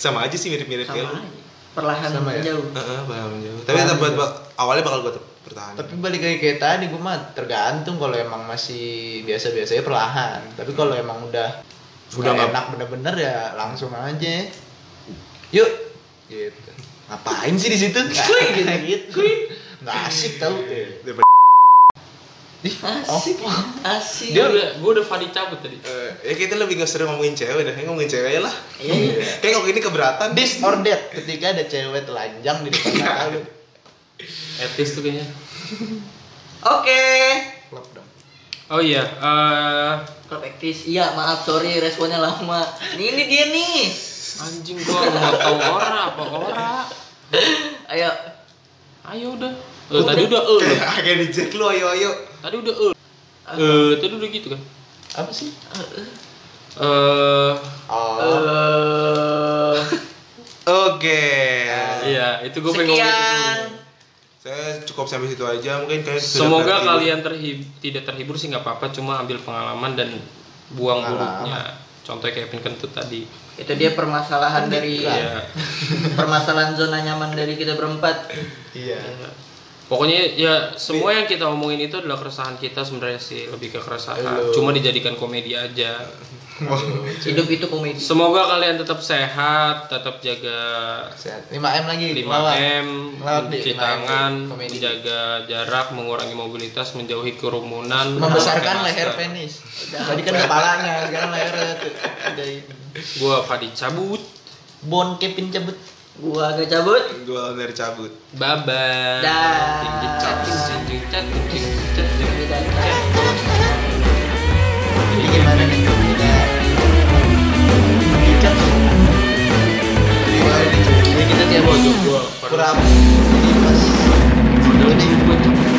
D: Sama aja sih mirip-mirip
E: Sama
D: kayak lu.
E: aja. Perlahan
F: Sama ya?
E: jauh.
D: Heeh, bakal menjauh. Tapi tetap bak- awalnya bakal gua tetap bertahan.
F: tapi balik lagi kayak tadi gua mah tergantung kalau emang masih biasa-biasa ya perlahan tapi kalau
E: Hmm.
F: emang udah
D: Udah
F: udah
D: nggak-
F: enak bener-bener ya langsung aja yuk gitu ngapain sih di situ gitu gitu nggak asik tau
E: Iya.
F: Ih,
E: Asik. Asik.
B: Dia udah gua udah Fadi cabut tadi.
D: Eh, ya kita lebih gak sering ngomongin cewek deh, ya ngomongin cewek aja lah.
E: Iya, iya.
D: Kayak kalau ini keberatan.
F: disordered ketika ada cewek telanjang di depan mata lu
B: Etis tuh kayaknya.
E: Oke.
F: klop dong
B: Oh iya, eh
E: Klub ektis. Iya, maaf sorry responnya lama. Ini, ini dia nih.
B: anjing gua mau tahu ora apa ora.
E: Ayo.
B: Ayo udah. Eh, tadi udah eh. loh.
D: Kayak di Jack lu ayo ayo.
B: Tadi udah eh. Eh, tadi udah gitu kan.
F: apa sih
B: Eh,
F: oh
E: Eh,
D: Oke.
B: iya, itu gua pengen ngomong itu
E: sekian.
B: dulu.
D: Saya cukup sampai situ aja mungkin kayak sudah
B: Semoga
D: terhibur.
B: kalian terhib- tidak terhibur sih nggak apa-apa, cuma ambil pengalaman dan buang buruknya. Contohnya kayak pin kentut tadi.
E: Itu dia permasalahan dari
B: Iya.
E: permasalahan zona nyaman dari kita berempat.
F: iya
B: Pokoknya ya semua yang kita omongin itu adalah keresahan kita sebenarnya sih lebih ke keresahan. Cuma dijadikan komedi aja.
E: Hidup itu komedi.
B: Semoga kalian tetap sehat, tetap jaga
F: sehat 5M lagi
B: 5M,
F: Lewat di
B: mencuci
F: 5M,
B: tangan,
F: komedi.
B: menjaga jarak, mengurangi mobilitas, menjauhi kerumunan,
F: membesarkan
B: pakai
F: leher
B: masker.
F: penis tadi kan kepalanya sekarang lehernya tuh udah ini.
B: Gua Fadi cabut.
F: bon kepin cabut
E: Gua agak cabut.
D: Gua dari cabut.
B: Bye bye.
E: Dah.
F: ini gimana nih kita dicap
E: Jadi kita tiap
B: Gua, gua, gua.
F: kurang ini pas
B: Udah, udah, gua cabut.